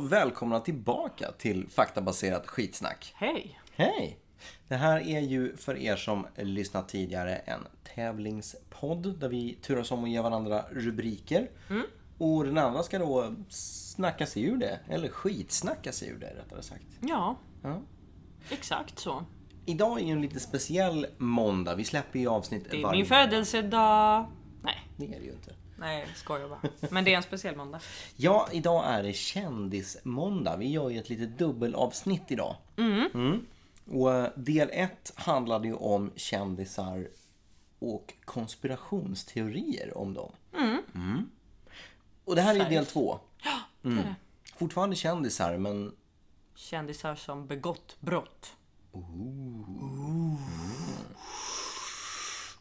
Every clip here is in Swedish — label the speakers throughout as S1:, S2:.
S1: välkomna tillbaka till faktabaserat skitsnack.
S2: Hej!
S1: Hej! Det här är ju för er som lyssnat tidigare en tävlingspodd där vi turas om att ge varandra rubriker.
S2: Mm.
S1: Och den andra ska då snacka sig ur det, eller skitsnacka sig ur det rättare sagt.
S2: Ja,
S1: Ja.
S2: exakt så.
S1: Idag är ju en lite speciell måndag. Vi släpper ju avsnitt
S2: Det är
S1: varje
S2: min födelsedag. Nej,
S1: Det är det ju inte.
S2: nej jag skojar bara. Men det är en speciell måndag.
S1: Ja, idag är det kändismåndag. Vi gör ju ett litet dubbelavsnitt idag. Mm. Och eh, del ett handlade ju om kändisar och konspirationsteorier om dem. Mm. Och det här är ju del två. Mm.
S2: Det är det.
S1: Fortfarande kändisar, men
S2: Kändisar som begått brott.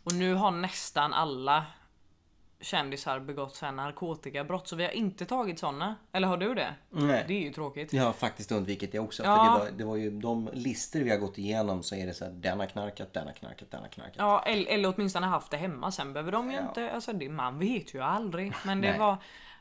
S2: Och nu har nästan alla kändisar begått så här narkotikabrott så vi har inte tagit såna. Eller har du det?
S1: Nej.
S2: Det är ju tråkigt.
S1: jag har faktiskt undvikit det också. För
S2: Ja.
S1: det, var, det var ju de listor vi har gått igenom så är det så här, den har knarkat, den har knarkat, den har knarkat.
S2: Ja, eller, eller åtminstone haft det hemma. Sen behöver de ju
S1: Ja.
S2: inte... Alltså det, man vet ju aldrig. Men det
S1: Nej.
S2: var...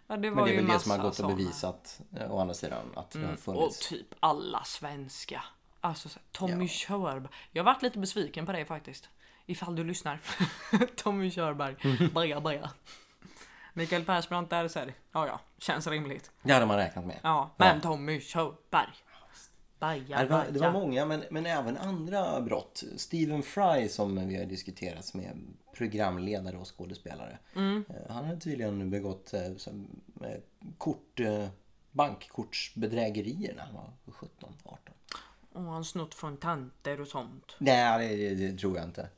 S2: Ja, det var
S1: Men det är
S2: ju
S1: väl det
S2: massa
S1: som har gått
S2: såna.
S1: och bevisat eh, å andra sidan att det har
S2: Och
S1: funnits.
S2: typ alla svenska. Alltså så här, Tommy Körberg. Jag varit lite besviken på dig faktiskt. Ifall du lyssnar. Tommy Körberg. Baja baja. Mikael Persbrandt där så här. Ja ja, känns rimligt.
S1: Det hade man räknat med.
S2: Ja, men Tommy Körberg. Baja
S1: Det var, det var
S2: baja.
S1: många, men, men även andra brott. Stephen Fry som vi har diskuterat som är programledare och skådespelare.
S2: Mm.
S1: Eh, Han har tydligen begått eh, så- eh, kort, eh, bankkortsbedrägerier när han var 17, 18.
S2: Och han snott från tanter och sånt.
S1: Nej, det, det, det tror jag inte.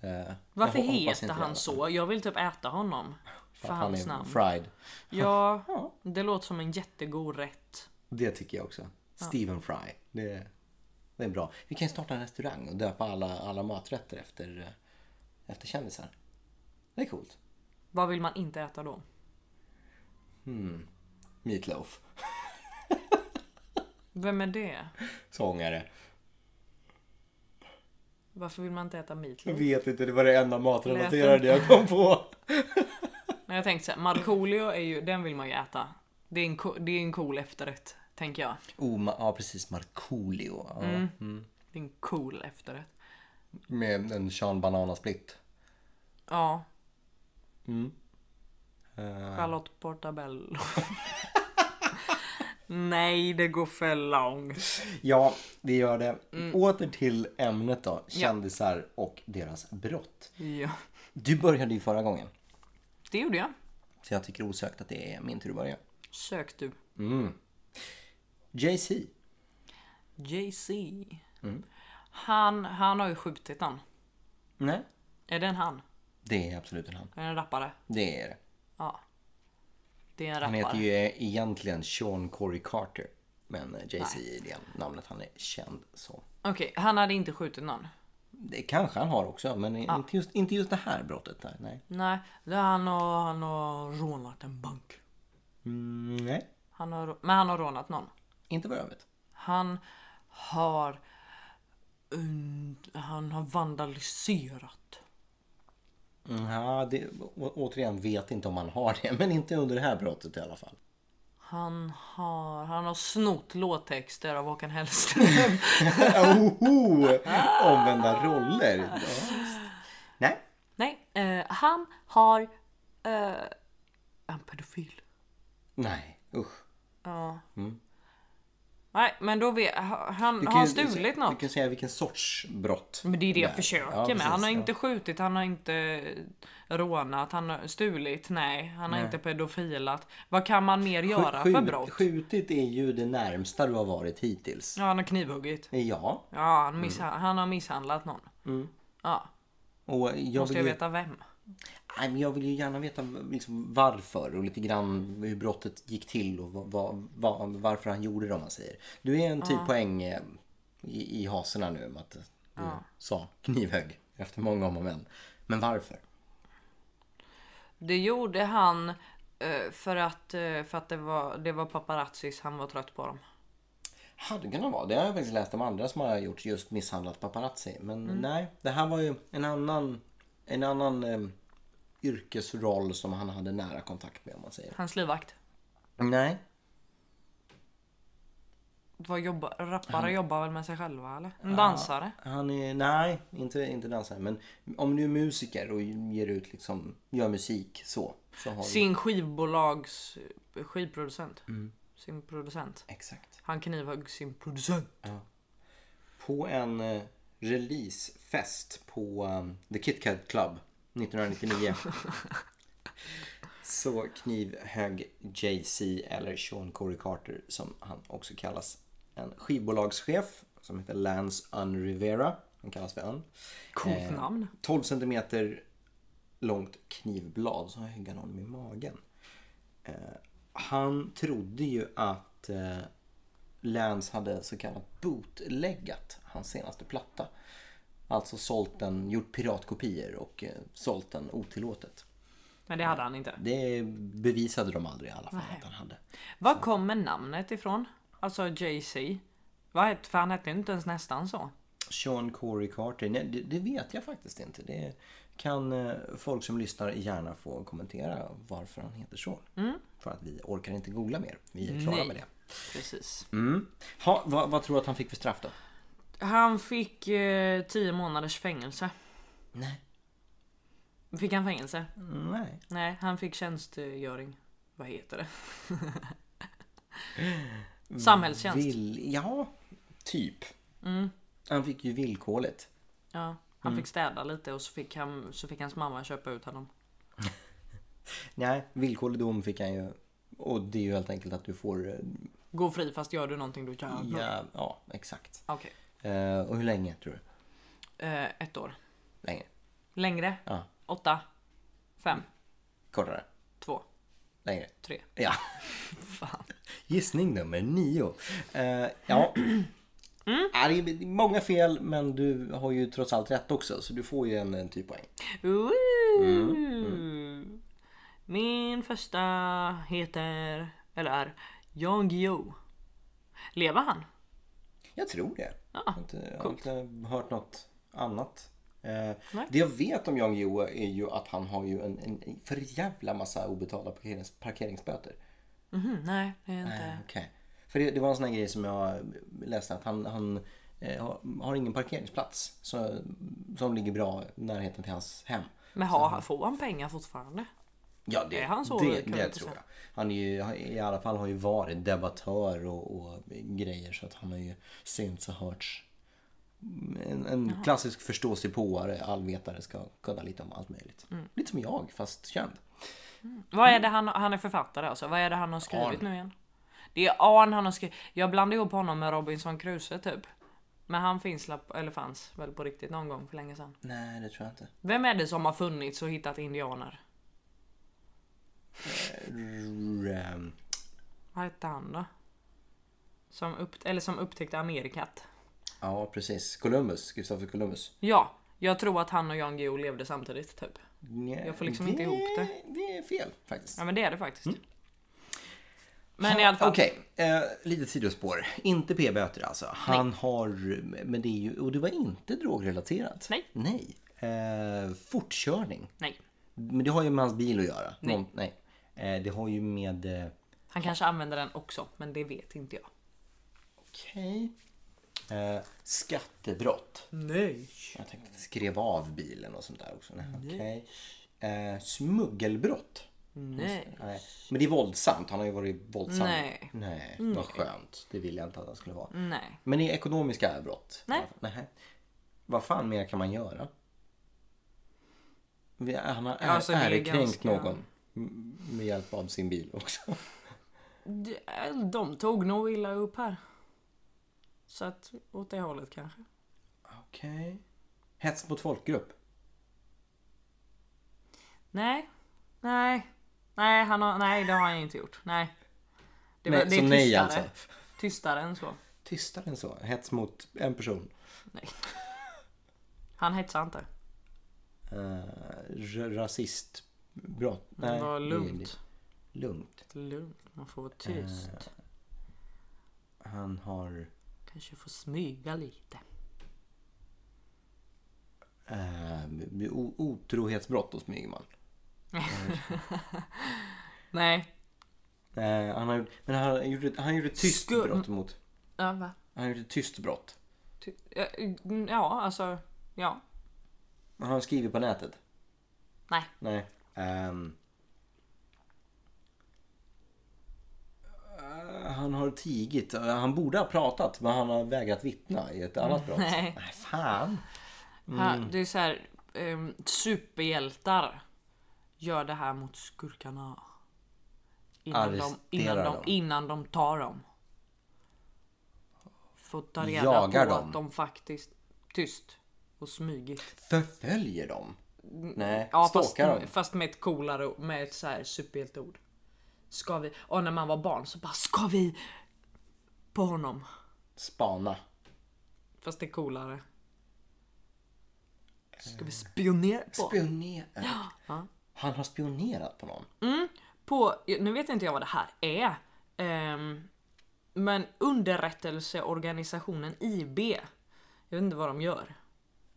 S1: Eh, jag
S2: Varför
S1: hoppas inte
S2: heter
S1: det i alla
S2: han
S1: fall.
S2: så? Jag vill typ äta honom. För,
S1: För att han
S2: hans
S1: är
S2: namn.
S1: fried.
S2: Ja,
S1: Ja.
S2: det låter som en jättegod rätt.
S1: Det tycker jag också. Stephen Fry. Det, det är bra. Vi kan ju starta en restaurang och döpa alla, alla maträtter efter, eh, efter kändisar. Det är coolt.
S2: Vad vill man inte äta då?
S1: Meatloaf.
S2: Vem är det?
S1: Sångare.
S2: Varför vill man inte äta meatloaf?
S1: Jag vet inte, det var det enda matrelaterade jag kom på.
S2: Men jag tänkte såhär, Markoolio är ju, den vill man ju äta. Det är en, co- det är en cool efterrätt, tänker jag.
S1: Oh, ma- ja precis. Markoolio. Ja.
S2: Det är en cool efterrätt.
S1: Med en Sean Banana-split.
S2: Ja,
S1: Mm. Eh,
S2: Charlotte Portabello. Nej, det går för långt.
S1: ja, det gör det. Åter till ämnet då. Kändisar och deras brott.
S2: Ja,
S1: Du började ju förra gången.
S2: det gjorde jag.
S1: Så jag tycker osökt att det är min tur att börja.
S2: Sök du.
S1: Jay-Z.
S2: Jay-Z.
S1: Mm.
S2: Han, han har ju skjutit han.
S1: Nej.
S2: Är det en han?
S1: Det är absolut en han.
S2: Är det en rappare?
S1: Det är det.
S2: Ja. Det är en
S1: Han heter
S2: rappare.
S1: ju eh, egentligen Sean Corey Carter. Men eh, Jay-Z är det namnet han är känd som.
S2: Okej, han hade inte skjutit någon.
S1: Det kanske han har också, men inte, just, inte just det här brottet. Där, nej.
S2: Nej, det är han har, han har rånat en bank.
S1: Mm, nej,
S2: Han har, men han har rånat någon.
S1: inte vad jag vet.
S2: Han har... und- han har vandaliserat.
S1: Nja, Mm, det, å, återigen, vet inte om han har det, men inte under det här brottet i alla fall.
S2: Han har, han har snott låttexter av Håkan Hellström.
S1: Oho! Omvända roller. Ja, visst. nej,
S2: Nej, eh, han har... Eh, är han pedofil?
S1: nej, usch.
S2: Ja. Nej, men då vet... ha- Han,
S1: Du
S2: har han
S1: ju-
S2: stulit
S1: Du
S2: något?
S1: kan säga vilken sorts brott.
S2: Men det är det
S1: Nej.
S2: jag försöker
S1: Ja,
S2: med.
S1: precis,
S2: Han har
S1: ja.
S2: inte skjutit, han har inte rånat, han har stulit, nej. Han har inte pedofilat. Vad kan man mer göra för
S1: Skjut-
S2: brott?
S1: Skjutit är ju det närmsta du har varit hittills.
S2: Ja, han har knivhuggit.
S1: Ja,
S2: Ja,
S1: Mm.
S2: han, missha- han har misshandlat någon. Ja,
S1: och jag
S2: måste jag
S1: vill, ju,
S2: veta vem?
S1: nej, men jag vill ju gärna veta liksom varför och lite grann hur brottet gick till och vad, vad, vad, varför han gjorde det om man säger. Du är en typ poäng eh, i, i hasorna nu med att du sa knivhögg efter många om och men. Men varför?
S2: Det gjorde han eh, för att, eh, för att det, var, det var paparazzis, han var trött på dem.
S1: Hade kunnat vara. Det har jag faktiskt läst om andra som har gjort just misshandlat paparazzi. Men nej, det här var ju en annan, en annan eh, yrkesroll som han hade nära kontakt med om man säger.
S2: Hans livvakt.
S1: Nej.
S2: Vad jobbar, rappare jobbar väl med sig själva eller? En dansare?
S1: Han är, nej, inte, inte dansare. Men om du är musiker och ger ut liksom, gör musik så. så har du,
S2: Sin skivbolags eh, skivproducent.
S1: Mm.
S2: Sin producent.
S1: exakt.
S2: Han knivhögg sin producent.
S1: På en eh, releasefest på um, The Kit Kat Club 1999. så knivhögg JC eller Sean Corey Carter som han också kallas. En skivbolagschef som heter Lance Unn Rivera. Han kallas för Unn.
S2: Coolt
S1: Eh,
S2: namn.
S1: 12 centimeter långt knivblad som högg han honom i magen. Eh, han trodde ju att eh, Lance hade så kallat bootleggat hans senaste platta. Alltså sålt den, gjort piratkopior och eh, sålt den otillåtet.
S2: Men det hade han inte.
S1: Det bevisade de aldrig i alla fall
S2: Nej.
S1: att han hade.
S2: Var kommer namnet ifrån? Alltså JC? Vad het, för han hette ju inte ens nästan så.
S1: Sean Corey Carter? Nej, det, det vet jag faktiskt inte. Det kan eh, folk som lyssnar gärna få kommentera varför han heter så. För att vi orkar inte googla mer. Vi är klara
S2: Nej.
S1: med det.
S2: Precis.
S1: Mm. Ha, vad, vad tror du att han fick för straff då?
S2: Han fick eh, 10 månaders fängelse.
S1: Nej.
S2: Fick han fängelse?
S1: Nej.
S2: Nej, han fick tjänstgöring. Vad heter det? Samhällstjänst.
S1: Vill, ja, typ. Han fick ju villkorligt.
S2: Ja, han
S1: Mm.
S2: fick städa lite och så fick, han, så fick hans mamma köpa ut honom.
S1: Nej, villkorlig dom fick han ju. Och det är ju helt enkelt att du får... eh,
S2: Gå fri fast gör du någonting du jävlar.
S1: Ja, ja exakt.
S2: Okej.
S1: Eh, och hur länge tror du?
S2: Eh, ett år.
S1: Länge?
S2: Längre?
S1: Ja.
S2: Åtta? Fem?
S1: Kortare?
S2: Två?
S1: Längre?
S2: Tre?
S1: Ja.
S2: Fan.
S1: Gissning nummer nio. Eh, ja.
S2: Mm.
S1: Ja, det är många fel men du har ju trots allt rätt också så du får ju en, en typ poäng.
S2: Ooh. Min första heter, eller är, Jan Guillou. Lever han?
S1: Jag tror det. jag har inte, jag har
S2: coolt.
S1: inte hört något annat. Eh,
S2: Nej.
S1: det jag vet om Jan Guillou är ju att han har ju en, en, en för jävla massa obetalda parkerings, parkeringsböter.
S2: Mhm, nej, det är inte.
S1: Eh, okej. För det, det var en sån här grej som jag läste att han, han eh, har, har ingen parkeringsplats så, som ligger bra i närheten till hans hem.
S2: Men har, får han pengar fortfarande?
S1: Ja, det,
S2: Är han så?
S1: det,
S2: Kan vi
S1: det
S2: inte
S1: tror
S2: säga.
S1: jag. Han är ju, han- i alla fall har ju varit debattör och, och grejer så att han har ju synts och hörts. En, en klassisk förståsigpåare, allvetare, ska kunna lite om allt möjligt.
S2: Mm.
S1: Lite som jag, fast känd.
S2: Vad är det han, han är författare alltså? Vad är det han har skrivit
S1: Arn.
S2: nu igen? Det är Arn han har skrivit. Jag blandar ihop honom med Robinson Crusoe typ. Men han finns, la- eller fanns väl på riktigt någon gång för länge sedan.
S1: Nej, det tror jag inte.
S2: Vem är det som har funnits och hittat indianer?
S1: R- ehm,
S2: Vad hette han då? Som, upp, eller som upptäckte Amerikat.
S1: Ja, precis. Columbus, Kristoffer Columbus.
S2: Ja, jag tror att han och Jan Guillou levde samtidigt typ.
S1: Nja,
S2: Jag får liksom inte ihop det.
S1: Det är fel faktiskt.
S2: Ja men det är det faktiskt. Men i alla fall.
S1: Mm. Okej, eh, lite sidospår. Inte p-böter alltså. Han har, men det är ju, och det var inte drogrelaterat.
S2: Nej.
S1: Nej. Eh, fortkörning.
S2: Nej,
S1: Men det har ju med hans bil att göra.
S2: Nej.
S1: Någon, nej. Eh, det har ju med, eh,
S2: han kanske använder den också men det vet inte jag.
S1: okej. Eh, skattebrott.
S2: Nej.
S1: Jag tänkte att jag skrev av bilen och sånt där också. Nej, okej. Eh, smuggelbrott.
S2: Nej.
S1: Nej. Men det är våldsamt. Han har ju varit våldsam.
S2: Nej.
S1: Nej, vad skönt. Det vill jag inte att han skulle vara.
S2: Nej.
S1: Men det är ekonomiska brott?
S2: Nej.
S1: Nej. Vad fan mer kan man göra? Vi- Han har ä-
S2: Alltså, det är
S1: ärekränkt
S2: ganska-
S1: någon m- med hjälp av sin bil också.
S2: Det- De tog nog illa upp här. Så att åt det hållet kanske.
S1: Okej. Hets mot folkgrupp?
S2: Nej. Nej. Nej, han har, nej det har han inte gjort. Nej. Det, var-
S1: Nej, så nej alltså.
S2: Tystare än så.
S1: Tystare än så. Hets mot en person.
S2: Nej. Han hetsade inte.
S1: Uh, rasistbrott? Nej.
S2: Det var
S1: är Eh.
S2: lugnt.
S1: lugnt.
S2: Lugnt. Man får vara tyst.
S1: Han har...
S2: Kanske få smyga lite.
S1: eh, o- otrohetsbrott och smyger man.
S2: Nej.
S1: Mm. Eh, han har, men han, gjorde, han gjorde ett tyst
S2: Skum-
S1: brott mot...
S2: Ja, va?
S1: Han gjorde ett tyst brott.
S2: Ty- ja, mm, ja, alltså. Ja.
S1: Har han skrivit på nätet?
S2: Nej.
S1: Nej. Ehm. Eh, han har tigit. Eh, Han borde ha pratat men han har vägrat vittna i ett annat brott.
S2: Mm. Nej.
S1: Nej, fan.
S2: Här,
S1: Mm.
S2: det är så här. ehm, superhjältar gör det här mot skurkarna. Innan de, innan,
S1: Arresterar
S2: de,
S1: dem.
S2: innan de tar dem. Får ta reda
S1: Jagar
S2: på
S1: dem.
S2: att de faktiskt tyst och smygigt.
S1: Förföljer dem? Nej,
S2: Mm, Ja, fast,
S1: stalkar dem?
S2: fast med ett coolare med ett så här superhjälteord. Ska vi? Och när man var barn så bara ska vi på honom.
S1: Spana?
S2: Fast det är coolare. Ska vi spionera på?
S1: Spionera? Han har spionerat på någon?
S2: på nu vet inte jag vad det här är. ehm, men underrättelseorganisationen IB. Jag vet inte vad de gör.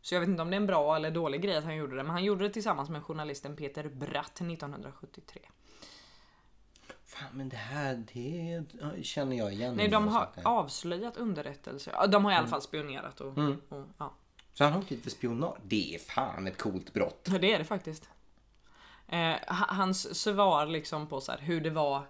S2: Så jag vet inte om det är en bra eller dålig grej att han gjorde det. Men han gjorde det tillsammans med journalisten Peter Bratt 1973.
S1: Fan men det här, det känner jag igen.
S2: Nej, de har
S1: någonstans.
S2: avslöjat underrättelse. Ja, De har i
S1: Mm.
S2: alla fall spionerat och, och ja.
S1: Så han har åkt dit för spionage? Det är fan ett coolt brott.
S2: Ja, det är det faktiskt. Eh, h- hans svar liksom på så här, hur det var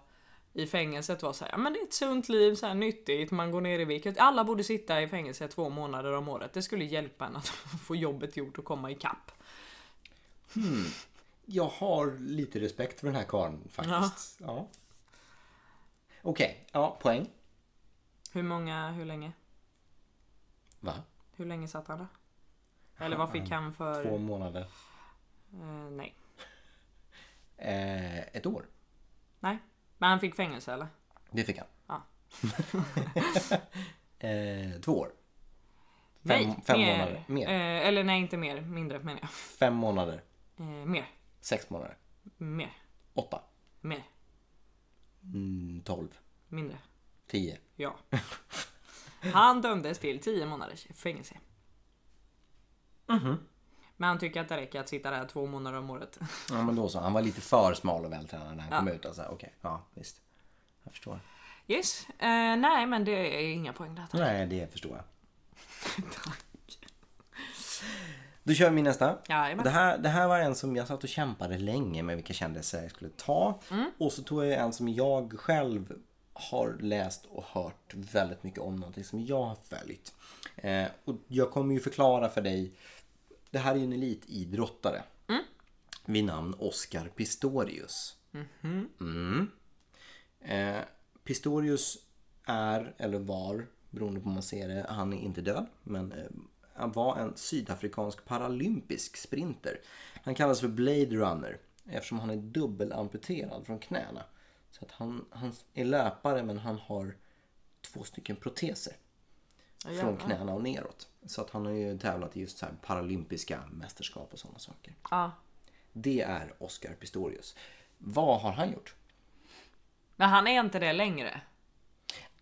S2: i fängelset var så här, ja men det är ett sunt liv, så här, nyttigt, man går ner i viket. Alla borde sitta i fängelse två månader om året. Det skulle hjälpa en att få jobbet gjort och komma ikapp.
S1: jag har lite respekt för den här karln faktiskt. Ja. Okej, ja, poäng.
S2: Hur många, hur länge?
S1: Va?
S2: Hur länge satt han då? Eller vad fick han för...
S1: Två månader.
S2: Eh, nej.
S1: Eh, ett år.
S2: Nej. Men han fick fängelse eller?
S1: Det fick han.
S2: Ja.
S1: eh, två år. Fem,
S2: nej,
S1: fem
S2: mer.
S1: månader. Mer.
S2: Eh, eller nej, inte mer. Mindre menar jag.
S1: Fem månader.
S2: Eh, mer.
S1: Sex månader.
S2: Mer.
S1: Åtta.
S2: Mer.
S1: Mm, tolv.
S2: Mindre.
S1: Tio.
S2: Ja. Han dömdes till 10 månaders fängelse. Men han tycker att det räcker att sitta där två månader om året.
S1: Ja men då så. Han var lite för smal och vältränad när han kom ut. Alltså. Okej, ja visst. Jag förstår.
S2: Yes. Eh, nej, men det är inga poäng där. tack.
S1: Nej, det förstår jag. Då kör vi nästa.
S2: Jajamän.
S1: Det här, det här var en som jag satt och kämpade länge med vilka kändisar jag skulle ta.
S2: Mm.
S1: Och så tog jag en som jag själv har läst och hört väldigt mycket om. Någonting som jag har följt. Eh, och jag kommer ju förklara för dig. Det här är ju en elitidrottare.
S2: Mm.
S1: Vid namn Oscar Pistorius. Eh, Pistorius är, eller var, beroende på hur man ser det, han är inte död. Men eh, han var en sydafrikansk paralympisk sprinter. Han kallas för Blade Runner eftersom han är dubbelamputerad från knäna. Så att han, han är löpare men han har två stycken proteser från knäna och neråt. Så att han har ju tävlat i just så här paralympiska mästerskap och sådana saker.
S2: Ja.
S1: Det är Oscar Pistorius. Vad har han gjort?
S2: Men han är inte det längre.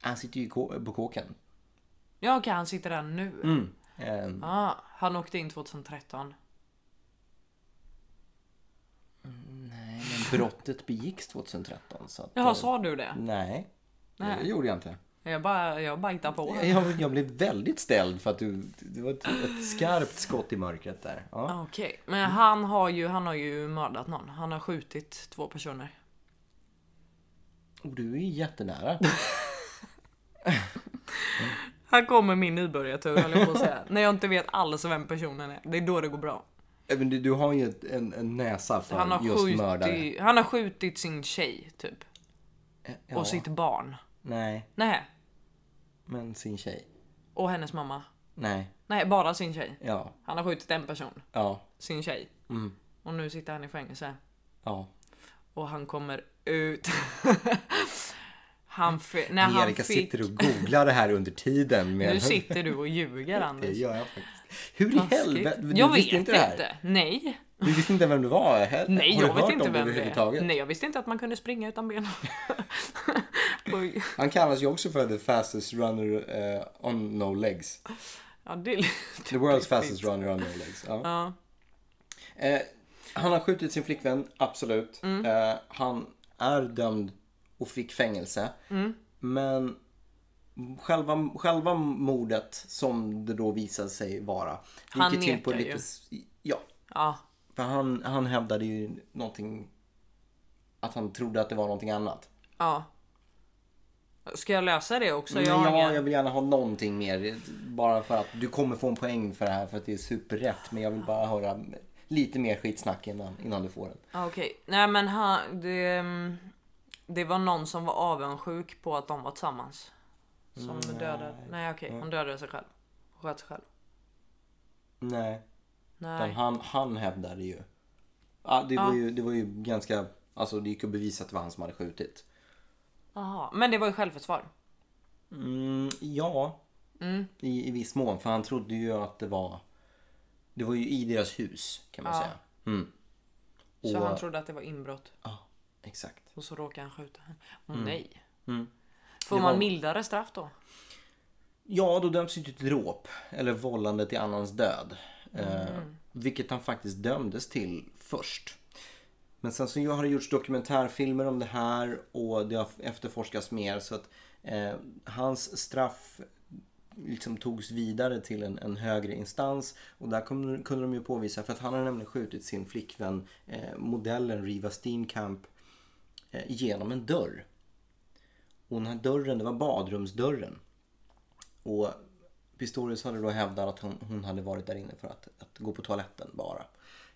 S1: Han sitter ju i kå- på kåken
S2: Ja, okej, han sitter där nu.
S1: Ehm,
S2: Ah, han åkte in 2013.
S1: nej, men brottet begicks 2013. Så att,
S2: Jaha,
S1: eh,
S2: sa du det?
S1: Nej, det gjorde jag inte.
S2: Jag bara, jag bara hittar på.
S1: Jag, jag blev väldigt ställd för att du, det var ett, ett skarpt skott i mörkret där. Ja.
S2: Ah, Okej, men han har, ju, han har ju mördat någon. Han har skjutit två personer.
S1: Och du är ju jättenära.
S2: Här kommer min nybörjartur höll jag på att säga. När jag inte vet alls vem personen är. Det är då det går bra.
S1: Men du, du har ju ett, en, en näsa för
S2: Han har,
S1: just mördare.
S2: skjutit, han har skjutit sin tjej typ.
S1: Ja,
S2: Och sitt barn.
S1: Nej,
S2: Nej.
S1: men sin tjej.
S2: Och hennes mamma.
S1: Nej,
S2: Nej, bara sin tjej.
S1: ja,
S2: Han har skjutit en person.
S1: ja,
S2: Sin tjej.
S1: Mm.
S2: Och nu sitter han i fängelse.
S1: ja.
S2: Och han kommer ut. han fi- när han
S1: Erika
S2: fick...
S1: sitter och googlar det här under tiden. Med
S2: Nu sitter du och ljuger
S1: Det
S2: Anders.
S1: gör jag faktiskt. Hur i helvete? Du
S2: Jag vet
S1: visste inte det här?
S2: inte. Nej.
S1: Du visste inte vem du var? He-
S2: Nej,
S1: har du
S2: jag vet
S1: hört
S2: inte
S1: om
S2: vem det
S1: överhuvudtaget?
S2: är. Nej, jag visste inte att man kunde springa utan ben. Oj.
S1: Han kallas ju också för the fastest runner eh, on no legs.
S2: ja, det är lite
S1: The world's
S2: piffigt.
S1: fastest runner on no legs. Ja.
S2: Ja.
S1: Eh, han har skjutit sin flickvän, absolut.
S2: Mm. Mm.
S1: Eh, han är dömd och fick fängelse. Men själva, själva mordet som det då visade sig vara. det
S2: Han
S1: gick ju till
S2: nekar ju.
S1: s- Ja,
S2: Ja,
S1: för han, han hävdade ju någonting att han trodde att det var någonting annat.
S2: ja. Ska jag läsa det också? Jag
S1: Jag,
S2: har
S1: ja,
S2: ingen...
S1: jag vill gärna ha någonting mer. Bara för att du kommer få en poäng för det här för att det är superrätt. Men jag vill bara höra lite mer skitsnack innan, innan du får den.
S2: Ja, Okej, nej men han, det, mm, det var någon som var avundsjuk på att de var tillsammans. Som dödade. Nej okej, han dödade sig själv. Och sköt sig själv.
S1: Nej, utan
S2: Nej.
S1: han, han hävdade ju. Ja, det, Var ju det var ju ganska... Alltså det gick att bevisa att det var han som hade skjutit.
S2: Aha. Men det var ju självförsvar.
S1: Mm, ja, Mm. I, i viss mån. För han trodde ju att det var... Det var ju i deras hus kan man säga. Mm.
S2: Så
S1: Och-
S2: han trodde att det var inbrott.
S1: Ja, exakt.
S2: Och så råkade han skjuta henne. Åh nej.
S1: Mm.
S2: Får
S1: Det
S2: man
S1: var-
S2: mildare straff då?
S1: Ja, då döms ju till dråp eller vållande till annans död. Eh, vilket han faktiskt dömdes till först. Men sen så har det gjorts dokumentärfilmer om det här och det har efterforskats mer så att eh, hans straff liksom togs vidare till en, en högre instans och där kunde, kunde de ju påvisa för att han hade nämligen skjutit sin flickvän eh, modellen Riva Steenkamp eh, genom en dörr. Och den här dörren, det var badrumsdörren. Och Pistorius hade då hävdat att hon, hon hade varit där inne för att, att gå på toaletten bara.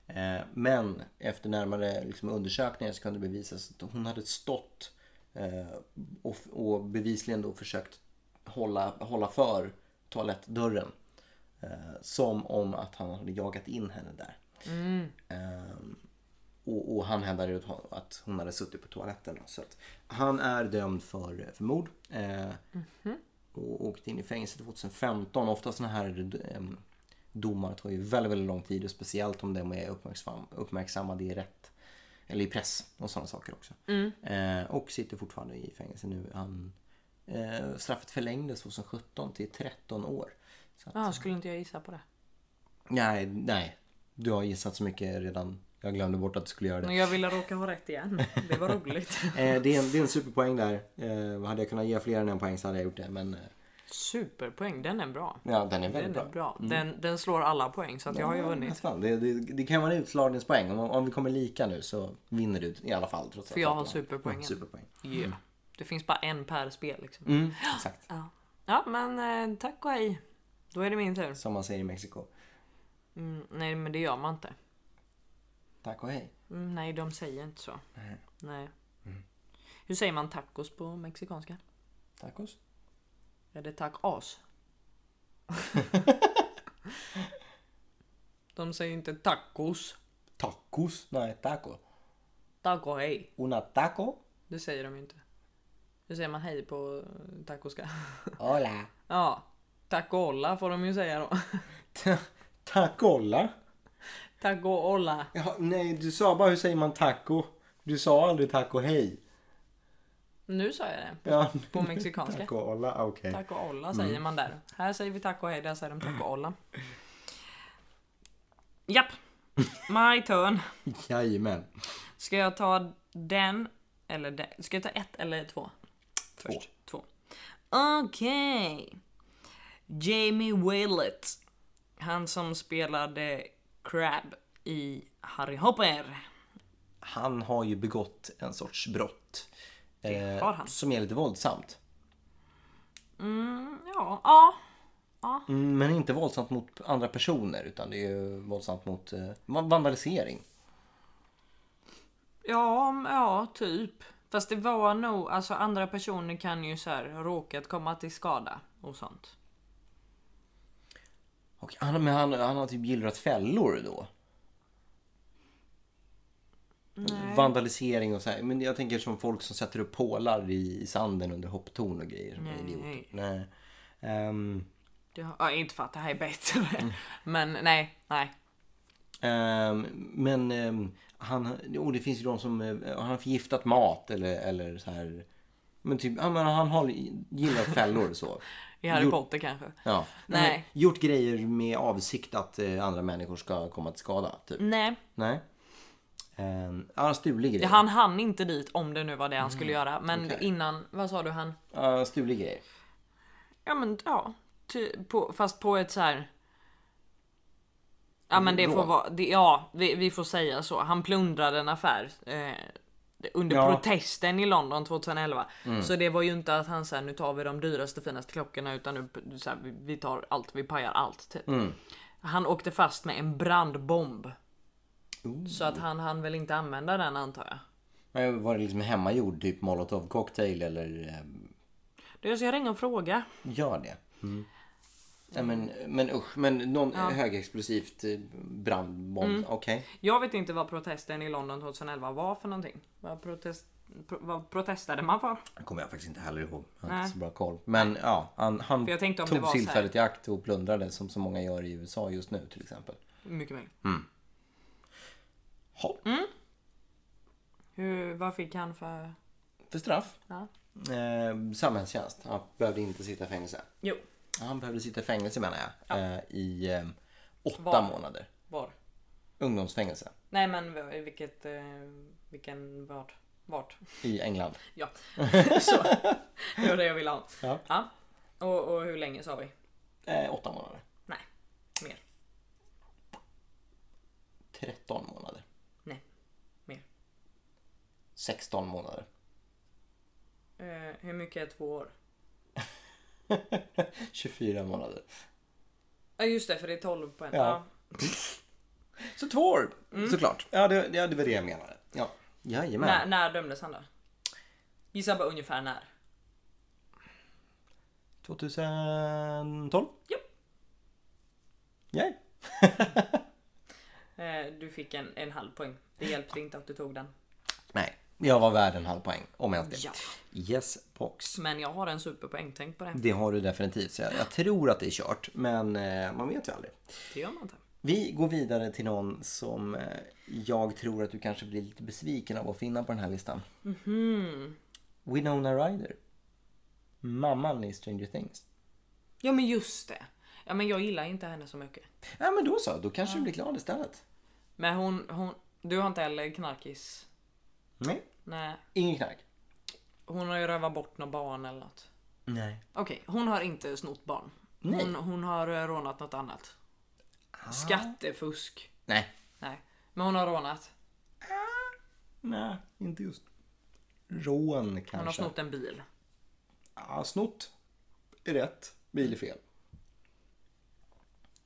S1: Eh, men efter närmare liksom, undersökningar så kunde det bevisas att hon hade stått eh, och, och bevisligen då försökt hålla, hålla för toalettdörren. Eh, som om att han hade jagat in henne där. Ehm, och, och han hävdade ju att hon- att hon hade suttit på toaletten. då. Så att han är dömd för, för mord. Eh, och åkte in i fängelse 2015. Ofta sådana här ehm, domar tar ju väldigt, väldigt lång tid och speciellt om de är uppmärksam, uppmärksammade i rätt eller i press och sådana saker också. Eh, och sitter fortfarande i fängelse nu. Han, eh, straffet förlängdes 2017 till 13 år. Så att,
S2: Ja, skulle inte jag gissa på det.
S1: nej, nej. Du har gissat så mycket redan. Jag glömde bort att du skulle göra det.
S2: Men jag ville råka ha rätt igen. Det var roligt.
S1: Eh, det, är en, det är en superpoäng där. Eh, hade jag kunnat ge fler än en poäng så hade jag gjort det. Men eh,
S2: Superpoäng, den är bra.
S1: ja, den är
S2: Den
S1: väldigt
S2: är
S1: bra. Mm.
S2: bra. Den, den slår alla poäng så att jag har ju
S1: Ja,
S2: vunnit.
S1: Nästan. Det, det, det kan vara en utslagningspoäng. Om, om vi kommer lika nu så vinner du i alla fall. Trots
S2: För jag
S1: att
S2: har
S1: du
S2: superpoängen.
S1: superpoäng.
S2: Yeah. Det finns bara en per spel liksom.
S1: Mm, exakt.
S2: Ja. ja men eh, tack och hej. Då är det min tur.
S1: Som man säger i Mexiko.
S2: Mm, nej men det gör man inte.
S1: Tack och hej.
S2: Mm, nej de säger inte så. Nej.
S1: Mm.
S2: Hur säger man tacos på mexikanska?
S1: Tacos.
S2: Är det tacos? de säger inte tacos.
S1: Tacos? Nej, taco.
S2: Tack och hej.
S1: Una taco.
S2: Det säger de ju inte. Hur säger man hej på eh, tacoska?
S1: Hola.
S2: ja. Tack och olla får de ju säga då.
S1: Ta- Tacola?
S2: Tack och olla.
S1: Ja, nej, du sa bara hur säger man taco. Du sa aldrig taco hej.
S2: Nu sa jag det.
S1: Ja,
S2: På mexikanska.
S1: Tacola, Ah, okej.
S2: Tack och olla säger man där. Här säger vi tack och hej, där säger de tack och olla. Japp! My turn.
S1: Jajamän.
S2: Ska jag ta den eller den? Ska jag ta ett eller två? Först. Två. Okej. Jamie Willett. Han som spelade Crab i Harry Hopper.
S1: han har ju begått en sorts brott. eh,
S2: har han.
S1: Som är lite våldsamt.
S2: Ja, ja.
S1: Mm, Men inte våldsamt mot andra personer utan det är ju våldsamt mot eh, van- vandalisering.
S2: Ja, ja, typ. Fast det var nog, alltså andra personer kan ju så här råkat komma till skada och sånt.
S1: Och han, men han, han har typ gillrat fällor då. Vandalisering och så här. Men jag tänker som folk som sätter upp pålar i, i sanden under hopptorn och grejer. Som är
S2: Nej.
S1: idioter. Nej. Ehm,
S2: Det har, ja, inte för att det här är bättre. Men nej, nej.
S1: Ehm, men ehm, han, och det finns ju de som eh, han har förgiftat mat eller, eller så här. Men typ, ja, men han har, gillar fällor så.
S2: I Harry
S1: Jo.
S2: Potter kanske.
S1: Ja.
S2: Nej.
S1: Men Gjort grejer med avsikt att eh, andra människor ska komma till skada. Typ.
S2: Nej,
S1: Nej. Um, han har stulit grejer.
S2: han hann inte dit om det nu var det han skulle göra. Men
S1: okej.
S2: innan, vad sa du han?
S1: Ja, stulit grejer.
S2: Ja men ja. Ty, på, fast på ett så här. Ja men det får
S1: Rån.
S2: vara, det, ja vi, vi får säga så. Han plundrade en affär eh, under
S1: Ja.
S2: protesten i London 2011. Så det var ju inte att han såhär nu tar vi de dyraste finaste klockorna utan nu så här, vi, vi tar allt, vi pajar allt typ. Han åkte fast med en brandbomb. Så att han hann väl inte använda den antar jag.
S1: Men var det liksom hemmagjord, typ molotov cocktail eller eh,
S2: Du, så jag ringer och frågar.
S1: gör det? Nej, men, men usch, men någon högexplosivt eh, brandbomb,
S2: Mm.
S1: okej.
S2: Jag vet inte vad protesten i London 2011 var för någonting. Vad, protest, pro, vad protestade man för?
S1: Det kommer jag faktiskt inte heller ihåg. Jag har
S2: Nej.
S1: inte så bra koll. Men ja, han, han
S2: För jag tänkte om det
S1: tog
S2: var så här-
S1: tillfället i akt och plundrade som så många gör i USA just nu till exempel.
S2: Mycket möjligt.
S1: Mm. Ha,
S2: Mm. Hur, vad fick han för...
S1: för straff.
S2: Ja.
S1: Eh, samhällstjänst. Han behövde inte sitta i fängelse.
S2: Jo.
S1: Han behövde sitta i fängelse menar jag. Eh, I eh, åtta
S2: Var?
S1: månader.
S2: Var?
S1: Ungdomsfängelse.
S2: Nej men v- vilket... Eh, vilken vart? Vart?
S1: I England.
S2: Ja. så. Det var det jag ville ha.
S1: Ja.
S2: Och, och hur länge sa vi?
S1: Eh, åtta månader.
S2: Nej. Mer.
S1: 13 månader.
S2: Nej. Mer.
S1: 16 månader.
S2: Eh, hur mycket är två år?
S1: 24 månader.
S2: Ja just det, för det är 12 på en.
S1: Ja. Så två år såklart. Mm. Ja det, ja, det var det jag menade. Ja.
S2: Ja.
S1: Jajamän.
S2: När, när dömdes han då? Gissa bara ungefär när.
S1: 2012?
S2: Japp.
S1: Yay.
S2: Eh, du fick en, en halv poäng. Det hjälpte inte att du tog den.
S1: Nej, jag var värd en halv poäng om jag inte.
S2: Ja.
S1: Yes box.
S2: Men jag har en superpoäng, tänk på det.
S1: Det har du definitivt. Så jag, jag tror att det är kört, men eh, man vet ju aldrig.
S2: Det gör man inte.
S1: Vi går vidare till någon som eh, jag tror att du kanske blir lite besviken av att finna på den här listan.
S2: Mhm.
S1: Winona Ryder. Mamman i Stranger Things.
S2: Ja men just det. Ja men jag gillar inte henne så mycket.
S1: Ja men då så, då kanske du blir glad istället.
S2: Men hon, hon du har inte heller knarkis?
S1: Nej,
S2: Nej.
S1: ingen knark.
S2: Hon har ju rövat bort några barn eller något.
S1: Nej.
S2: Okej, hon har inte snott barn.
S1: Nej. Ah.
S2: Hon, hon har eh, rånat något annat. Skattefusk.
S1: Nej.
S2: Nej. Men hon har rånat.
S1: Nej, inte just. Rån kanske.
S2: Hon har snott en bil.
S1: Ja, snott är rätt, bil är fel.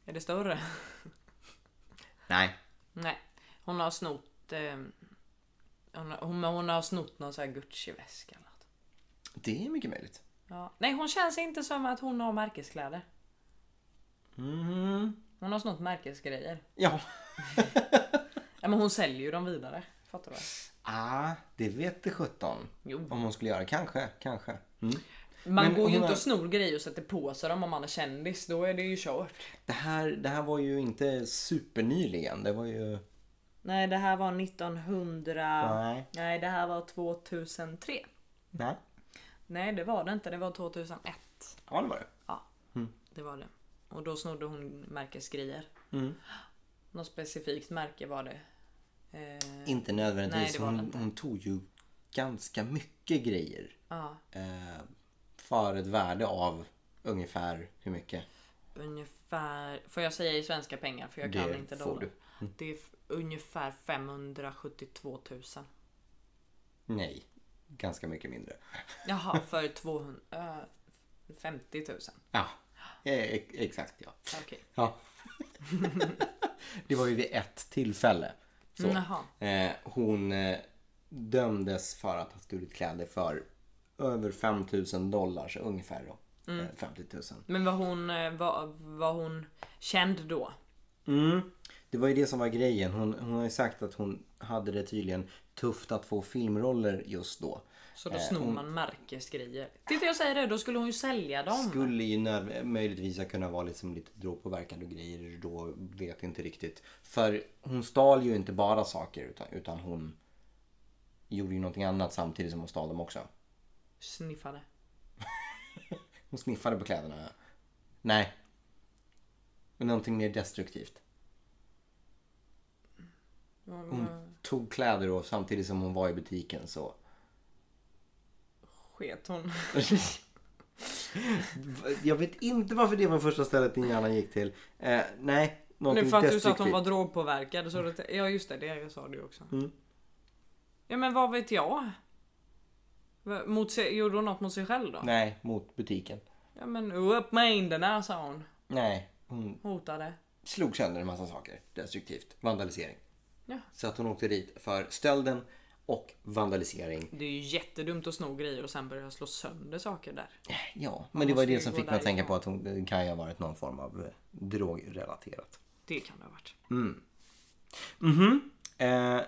S2: Är det större?
S1: Nej.
S2: Nej. Hon har snott... Eh, hon, har- hon, hon har snott någon sån här Gucci-väska eller något.
S1: Det är mycket möjligt.
S2: Ja. Nej hon känns inte som att hon har märkeskläder.
S1: Mm.
S2: Hon har snott märkesgrejer.
S1: Ja.
S2: Ja, men hon säljer ju dem vidare. Fattar du?
S1: Ah, det vet det sjutton.
S2: Jo.
S1: Om hon skulle göra kanske, kanske. Mm.
S2: Man
S1: Men
S2: går
S1: hon
S2: ju inte
S1: har-
S2: och snor grejer och sätter på sig dem om man är kändis. Då är det ju kört.
S1: Det, här, det här var ju inte supernyligen. Det var ju...
S2: Nej, det här var 1900...
S1: Nej.
S2: Nej, det här var 2003.
S1: Nej.
S2: Nej, det var det inte. Det var 2001.
S1: Ja, det var det.
S2: Ja, det var det. Och då snodde hon märkesgrejer.
S1: Mm.
S2: Något specifikt märke var det. Eh,
S1: Inte nödvändigtvis.
S2: Nej, det var det
S1: hon,
S2: inte.
S1: hon tog ju ganska mycket grejer.
S2: ja,
S1: Eh, för ett värde av ungefär hur mycket?
S2: ungefär... Får jag säga i svenska pengar? För jag
S1: Det
S2: kan inte
S1: får
S2: dollar.
S1: du. Mm.
S2: Det är f- ungefär 572 000.
S1: Nej. Ganska mycket mindre.
S2: Jaha, för 200... eh, 50 000.
S1: Ja. Eh, ex- exakt ja.
S2: Okej.
S1: Ja. det var ju vid ett tillfälle. Så.
S2: Mm, jaha.
S1: Eh, hon eh, dömdes för att ha stulit kläder för över 5000 dollar, så ungefär då. Eh, 50 000.
S2: Men var hon, eh, var, var hon känd då?
S1: Mm. Det var ju det som var grejen. Hon, hon har ju sagt att hon hade det tydligen tufft att få filmroller just då.
S2: Så
S1: Eh,
S2: då snor man märkesgrejer. Titta jag säger det, då skulle hon ju sälja dem.
S1: Skulle ju nöd- möjligtvis ha kunnat vara liksom lite drogpåverkande och grejer då, vet inte riktigt. För hon stal ju inte bara saker utan, utan hon gjorde ju någonting annat samtidigt som hon stal dem också.
S2: Sniffade.
S1: Hon sniffade på kläderna. ja. Nej. Men någonting mer destruktivt. Hon tog kläder och samtidigt som hon var i butiken så...
S2: Sket hon.
S1: Jag vet inte varför det var första stället din hjärna gick till. Eh, nej,
S2: Nu
S1: någonting
S2: för att du sa att hon var
S1: destruktivt.
S2: drogpåverkad. Så det, ja just det, det sa du också.
S1: Mm.
S2: Ja men vad vet jag? Va- Mot sig, gjorde hon något mot sig själv då?
S1: Nej, mot butiken.
S2: Ja men upp med händerna sa hon.
S1: Nej, hon
S2: Hotade.
S1: slog sönder en massa saker destruktivt. Vandalisering.
S2: Ja.
S1: Så att hon åkte dit för stölden och vandalisering.
S2: Det är ju jättedumt att sno grejer och sen börja slå sönder saker där.
S1: Ja, men det var ju
S2: måste
S1: det
S2: ju
S1: som
S2: gå
S1: fick mig att tänka
S2: därifrån.
S1: på att hon kan ju ha varit någon form av eh, drogrelaterat.
S2: Det kan det ha varit.
S1: Mhm. Eh,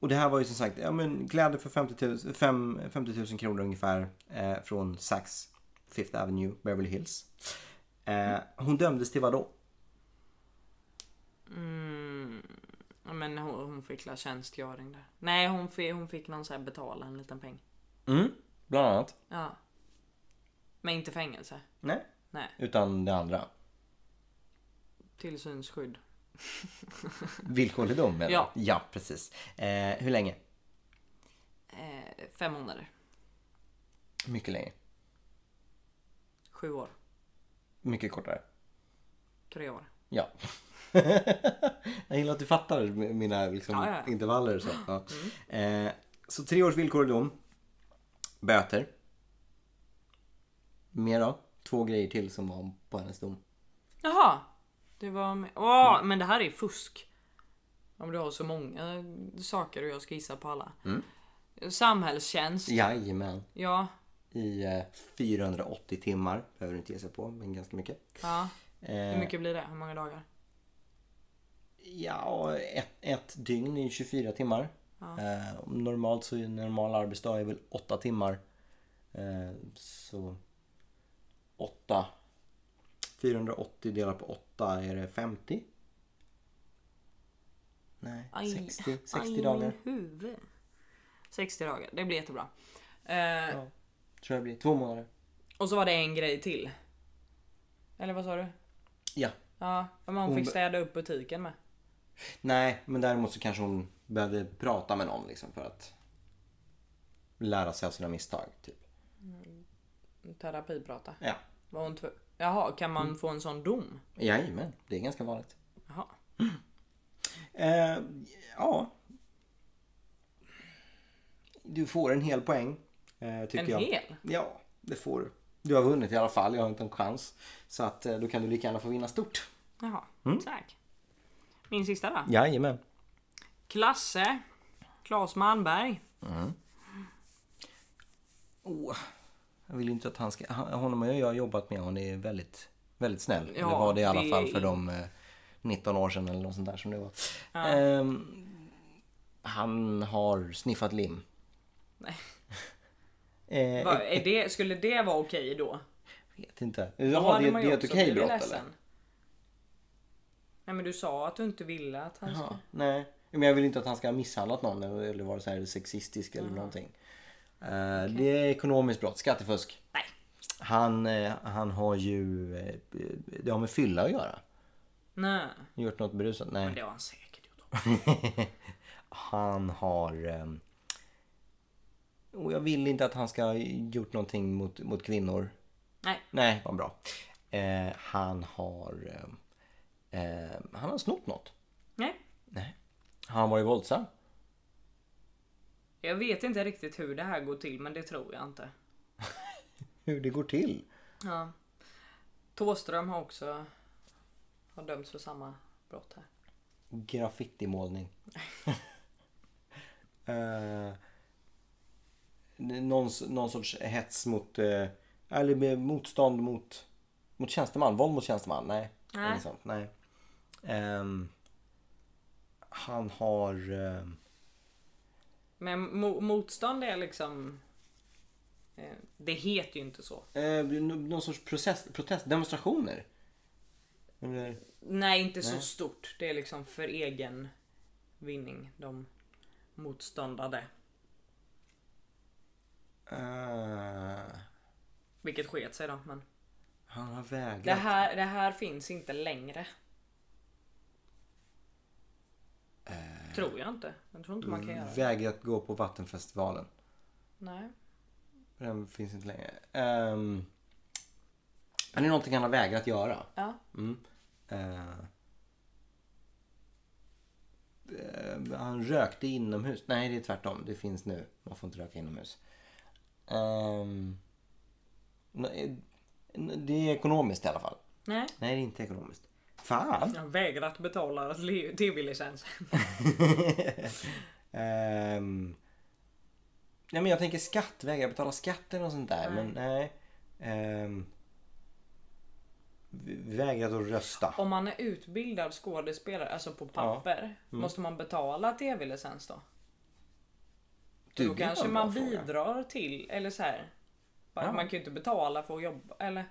S1: och det här var ju som sagt ja, men kläder för 50 000, fem- 50 000 kronor ungefär eh, från Saks Fifth Avenue, Beverly Hills. Eh, hon dömdes till vadå?
S2: Ja, Mm. men hon, hon fick la tjänstgöring där. Nej hon fick, hon fick någon så här betala en liten peng.
S1: Mm, bland annat.
S2: Ja. Men inte fängelse.
S1: Nej.
S2: Nej.
S1: Utan det andra.
S2: Tillsynsskydd.
S1: Villkorlig dom menar
S2: Ja.
S1: du? Ja, precis. Eh, hur länge?
S2: Eh, fem månader.
S1: Mycket länge.
S2: Sju år.
S1: Mycket kortare.
S2: Tre år.
S1: Ja. jag gillar att du fattar m- mina liksom,
S2: Ja, ja, Mm. ja.
S1: intervaller. Så, ja. eh, så tre års villkorlig dom. Böter. Mer då? Två grejer till som var på hennes dom.
S2: Jaha. Det var med. Åh, men det här är fusk. Om du har så många eh, saker och jag ska gissa på alla. Samhällstjänst.
S1: Jajamän.
S2: Ja.
S1: I eh, 480 timmar. Behöver du inte ge sig på, men ganska mycket.
S2: ja. Hur
S1: Eh,
S2: mycket blir det? Hur många dagar?
S1: ja, ett, ett dygn är 24 timmar. Eh, normalt så är en normal arbetsdag är väl 8 timmar. Eh, så 8. 480 delat på 8 är det 50. Nej, 60, 60
S2: aj,
S1: dagar
S2: Min huvud. 60 dagar. Det blir jättebra. Eh,
S1: tror jag blir. Två månader.
S2: Och så var det en grej till. Eller vad sa du?
S1: Ja.
S2: Ja, men hon
S1: Hon
S2: fick
S1: be-
S2: städa upp butiken med.
S1: Nej, men däremot så kanske hon behövde prata med någon liksom för att lära sig av sina misstag. Typ.
S2: Terapiprata.
S1: Ja.
S2: Var hon tv- Jaha, kan man
S1: Mm.
S2: få en sån dom?
S1: Jajamän, det är ganska vanligt.
S2: Jaha.
S1: Eh, ja. Du får en hel poäng. Eh, tycker
S2: En
S1: jag.
S2: hel?
S1: Ja, det får du. Du har vunnit i alla fall. Jag har inte en chans. Så att eh, då kan du lika gärna få vinna stort.
S2: Jaha,
S1: Mm.
S2: tack. Min sista då.
S1: Jajamän.
S2: Klasse. Claes Malmberg.
S1: Åh, jag vill inte att han ska... han- Honom har jag jobbat med. Han är väldigt, väldigt snäll.
S2: Ja,
S1: det var det i alla
S2: det-
S1: fall för de eh, 19 år sedan eller något sånt där som det var. Ehm, han har sniffat lim.
S2: Nej.
S1: Eh,
S2: Va, är det, skulle det vara okej då?
S1: vet inte.
S2: Då
S1: Jaha,
S2: hade
S1: det,
S2: man
S1: det
S2: ju
S1: är ett
S2: också
S1: okej
S2: blivit
S1: brott eller?
S2: ledsen. Nej men du sa att du inte ville att han
S1: Ja,
S2: skulle...
S1: nej. Men jag vill inte att han ska ha misshandlat någon eller eller varit så här sexistisk eller någonting. Eh, Det är ekonomiskt brott, skattefusk.
S2: Nej.
S1: Han, eh, han har ju... eh, Det har med fylla att göra.
S2: Nej.
S1: Gjort något berusat? Nej.
S2: Men det har han säkert gjort.
S1: han har... ehm, Och jag vill inte att han ska ha gjort någonting mot, mot kvinnor.
S2: Nej.
S1: Nej, vad bra. Eh, han har... ehm, Eh, han har snott något.
S2: Nej.
S1: Nej. Han var ju våldsam.
S2: Jag vet inte riktigt hur det här går till men det tror jag inte.
S1: Hur det går till.
S2: Ja. Tåström har också har dömts för samma brott här.
S1: Graffitimålning. uh, någon, s- någon sorts hets mot... eh, eller med motstånd mot, mot tjänsteman. Våld mot tjänsteman. Nej.
S2: Nej.
S1: Inget sånt. Nej. Ehm, han har... ehm,
S2: Men mo- motstånd är liksom... Eh, det heter ju inte så.
S1: eh, n- någon sorts process, protest, demonstrationer. Eller, eh,
S2: Nej, inte så stort. Det är liksom för egen vinning de motståndade.
S1: eh,
S2: Vilket sket sig då. Men
S1: han har
S2: det,
S1: vägrat.
S2: här, det här finns inte längre. Tror jag inte. Jag tror inte man kan göra det.
S1: Vägrat gå på Vattenfestivalen.
S2: Nej.
S1: Den finns inte längre. Ehm, Men det är någonting han har vägrat göra.
S2: Ja.
S1: Eh, eh, han rökte inomhus. Nej, det är tvärtom. Det finns nu. Man får inte röka inomhus. Ehm, nej, det är ekonomiskt i alla fall.
S2: Nej.
S1: Nej, det är inte ekonomiskt. Fan!
S2: Jag vägrat betala tv-licens.
S1: Ehm, nej men jag tänker skatt, vägra betala skatten och sånt där. Men nej. Ehm, v- vägrat att rösta.
S2: Om man är utbildad skådespelare, alltså på papper,
S1: Mm.
S2: måste man betala tv-licens då?
S1: Du,
S2: då
S1: det var en
S2: kanske
S1: bra
S2: man
S1: fråga.
S2: bidrar till, eller så här. Bara, Man kan ju inte betala för att jobba, eller?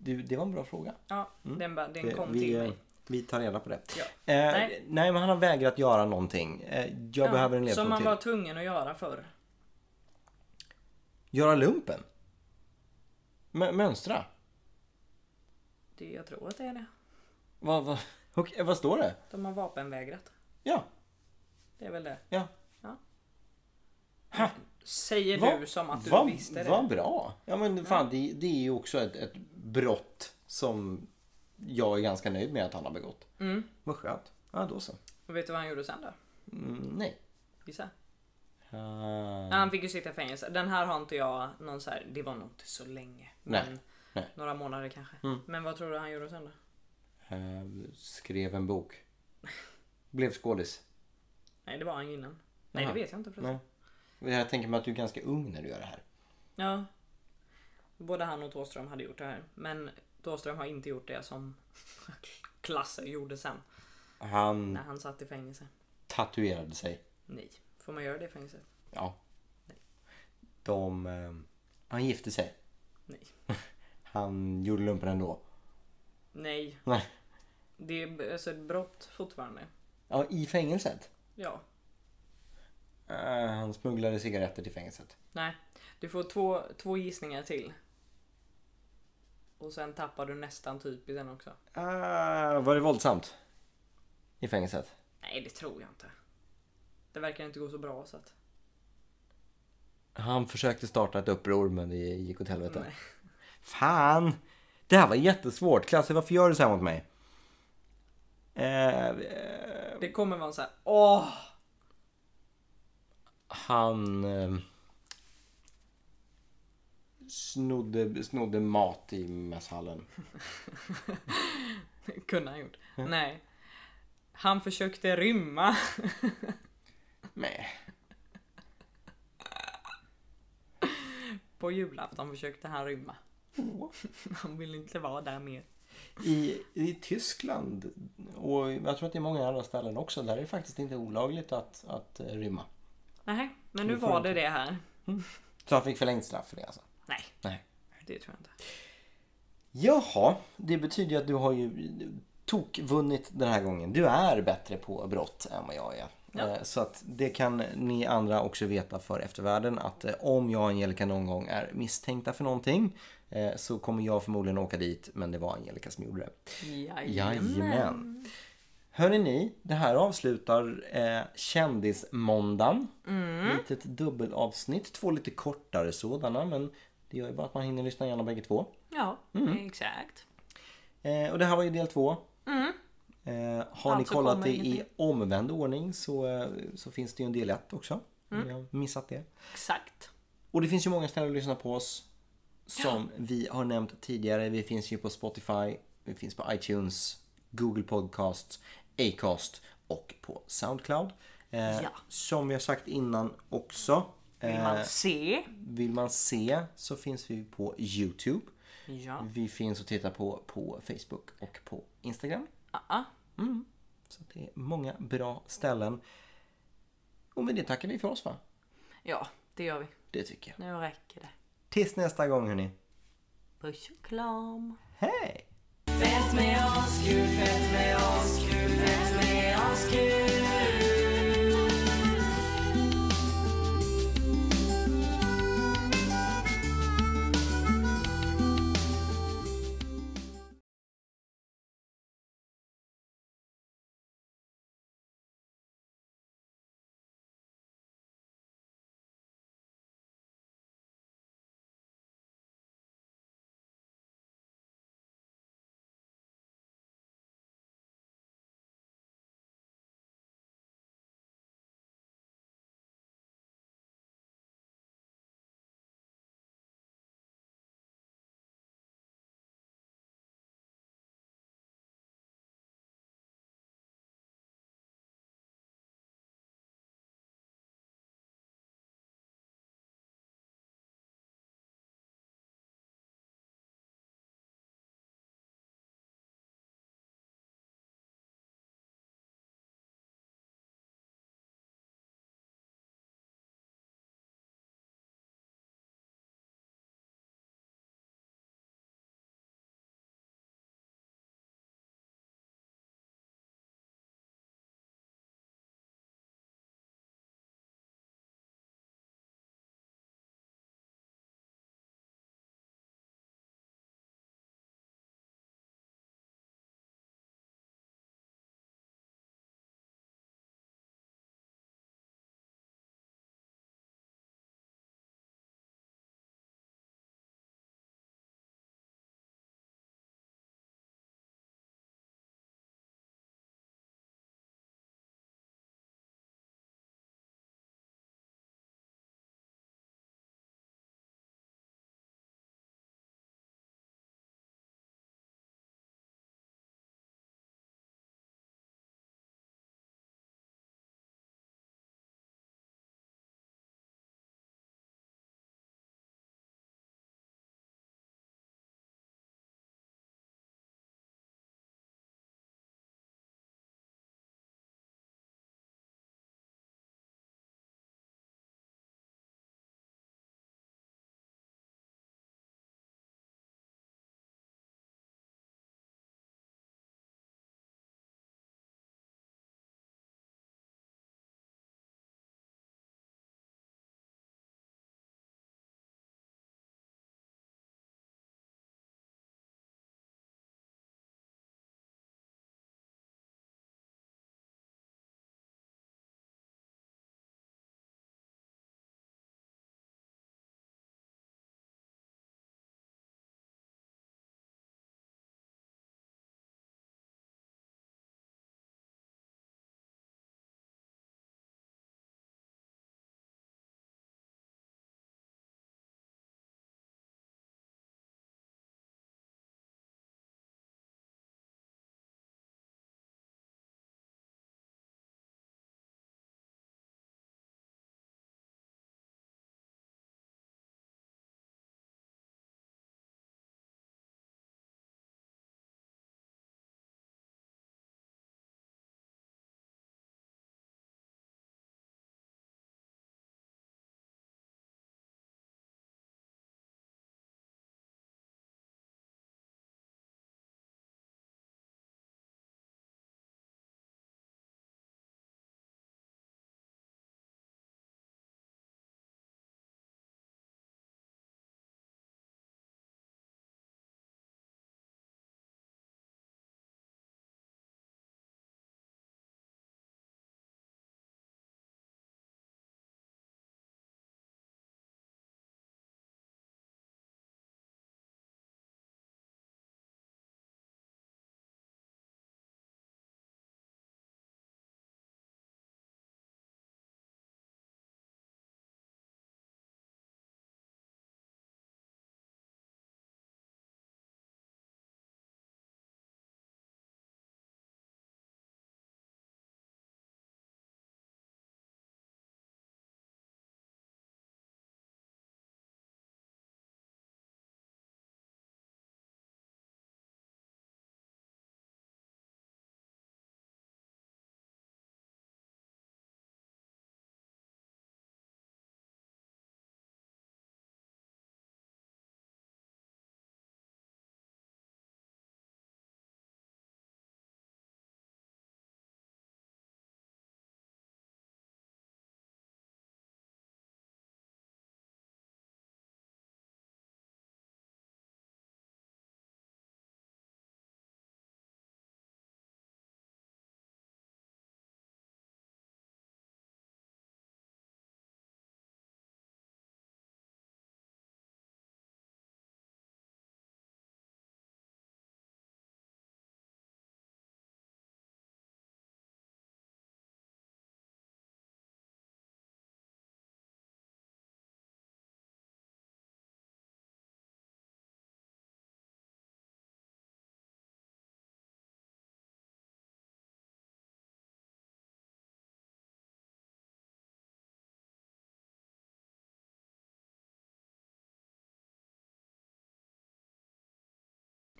S1: Du, det var en bra fråga.
S2: Ja, den, bara, den
S1: Mm. Det-
S2: kom
S1: vi,
S2: till
S1: eh,
S2: mig.
S1: Vi tar reda på det.
S2: Ja.
S1: Eh, nej.
S2: Nej.
S1: men han har vägrat göra någonting. Eh, jag behöver en
S2: Som
S1: ledtråd
S2: man
S1: till.
S2: var tvungen att göra förr.
S1: Göra lumpen. Mö- mönstra.
S2: Det, jag tror att det är det.
S1: Vad, vad, okej, vad står det?
S2: De har vapenvägrat.
S1: Ja,
S2: Det är väl det.
S1: ja.
S2: Säger
S1: Va-
S2: du som att du
S1: va-
S2: visste det.
S1: Vad bra! Ja men fan det, det är ju också ett, ett brott som jag är ganska nöjd med att han har begått. Mm. Vad skönt. Ja då så.
S2: Och vet du vad han gjorde sen då?
S1: Mm, nej.
S2: Gissa.
S1: Ah,
S2: Ja, Han fick ju sitta i fängelse. Den här har inte jag någon så här, det var nog inte så länge.
S1: Nej,
S2: Men
S1: nej. Mm.
S2: Några månader kanske. Men vad tror du han gjorde sen då?
S1: eh, skrev en bok. Blev skådis.
S2: Nej det var han ju innan. Nej
S1: Jaha.
S2: det vet jag inte förresten.
S1: Nej. Jag tänker mig att du är ganska ung när du gör det här.
S2: Ja. Både han och Thåström hade gjort det här. Men Thåström har inte gjort det som Klasse gjorde
S1: Mm.
S2: sen.
S1: Han
S2: När han satt i fängelse.
S1: tatuerade sig.
S2: Nej. Får man göra det i fängelset?
S1: Ja. De... Eh, han gifte sig.
S2: Nej.
S1: Han gjorde lumpen ändå.
S2: Nej.
S1: Nej.
S2: Det är alltså ett brott fortfarande.
S1: Ja, i fängelset.
S2: Ja.
S1: Eh, han smugglade cigaretter till fängelset.
S2: Nej. Du får två, två gissningar till. Och sen tappar du nästan typ i den också.
S1: Ah, var det våldsamt? I fängelset?
S2: Nej, det tror jag inte. Det verkar inte gå så bra så att...
S1: Han försökte starta ett uppror men det gick åt helvete.
S2: Nej.
S1: Fan! Det här var jättesvårt. Klasse, varför gör du så här mot mig? Eh, eh,
S2: Det kommer vara en så här. Åh!
S1: han... Eh, snodde, snodde mat i mässhallen.
S2: Kunde han gjort. Nej. Han försökte rymma.
S1: Nej.
S2: På julafton försökte han rymma. Han ville inte vara där mer.
S1: I, I Tyskland och jag tror att det är många andra ställen också där är det faktiskt inte olagligt att, att eh, rymma.
S2: Nej, men nu
S1: Nu får
S2: var
S1: inte.
S2: det det här.
S1: Så han fick förlängt straff för det alltså?
S2: Nej,
S1: Nej.
S2: det tror jag inte.
S1: Jaha, det betyder ju att du har ju tokvunnit den här gången. Du är bättre på brott än vad jag är. Eh, Så att det kan ni andra också veta för eftervärlden att eh, om jag och Angelica någon gång är misstänkta för någonting eh, så kommer jag förmodligen åka dit men det var Angelica som gjorde det. Jajamän. Hörrni ni, det här avslutar eh, Kändismåndagen. Mm. Litet dubbelavsnitt, två lite kortare sådana men det gör ju bara att man hinner lyssna igenom bägge två.
S2: Ja, exakt.
S1: Eh, och det här var ju del två. Eh, har
S2: Alltså
S1: ni kollat
S2: kommer
S1: det i
S2: ingenting.
S1: omvänd ordning så, eh, så finns det ju en del ett också. Om ni har missat det.
S2: Exakt.
S1: Och det finns ju många ställen att lyssna på oss. Som vi har nämnt tidigare. Vi finns ju på Spotify, vi finns på iTunes, Google Podcasts, Acast och på Soundcloud. Eh,
S2: Ja.
S1: Som vi har sagt innan också.
S2: Vill
S1: Eh,
S2: man se?
S1: vill man se så finns vi på Youtube.
S2: Ja.
S1: Vi finns att titta på på Facebook och på Instagram.
S2: Ah,
S1: Så det är många bra ställen. Och med det tackar vi för oss va?
S2: Ja, det gör vi.
S1: Det tycker jag.
S2: Nu räcker det.
S1: Tills nästa gång hörni.
S2: Puss och kram.
S1: Hej!
S3: Fett med oss, kul, fett med oss, kul, fett med oss, kul.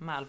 S2: Malfoy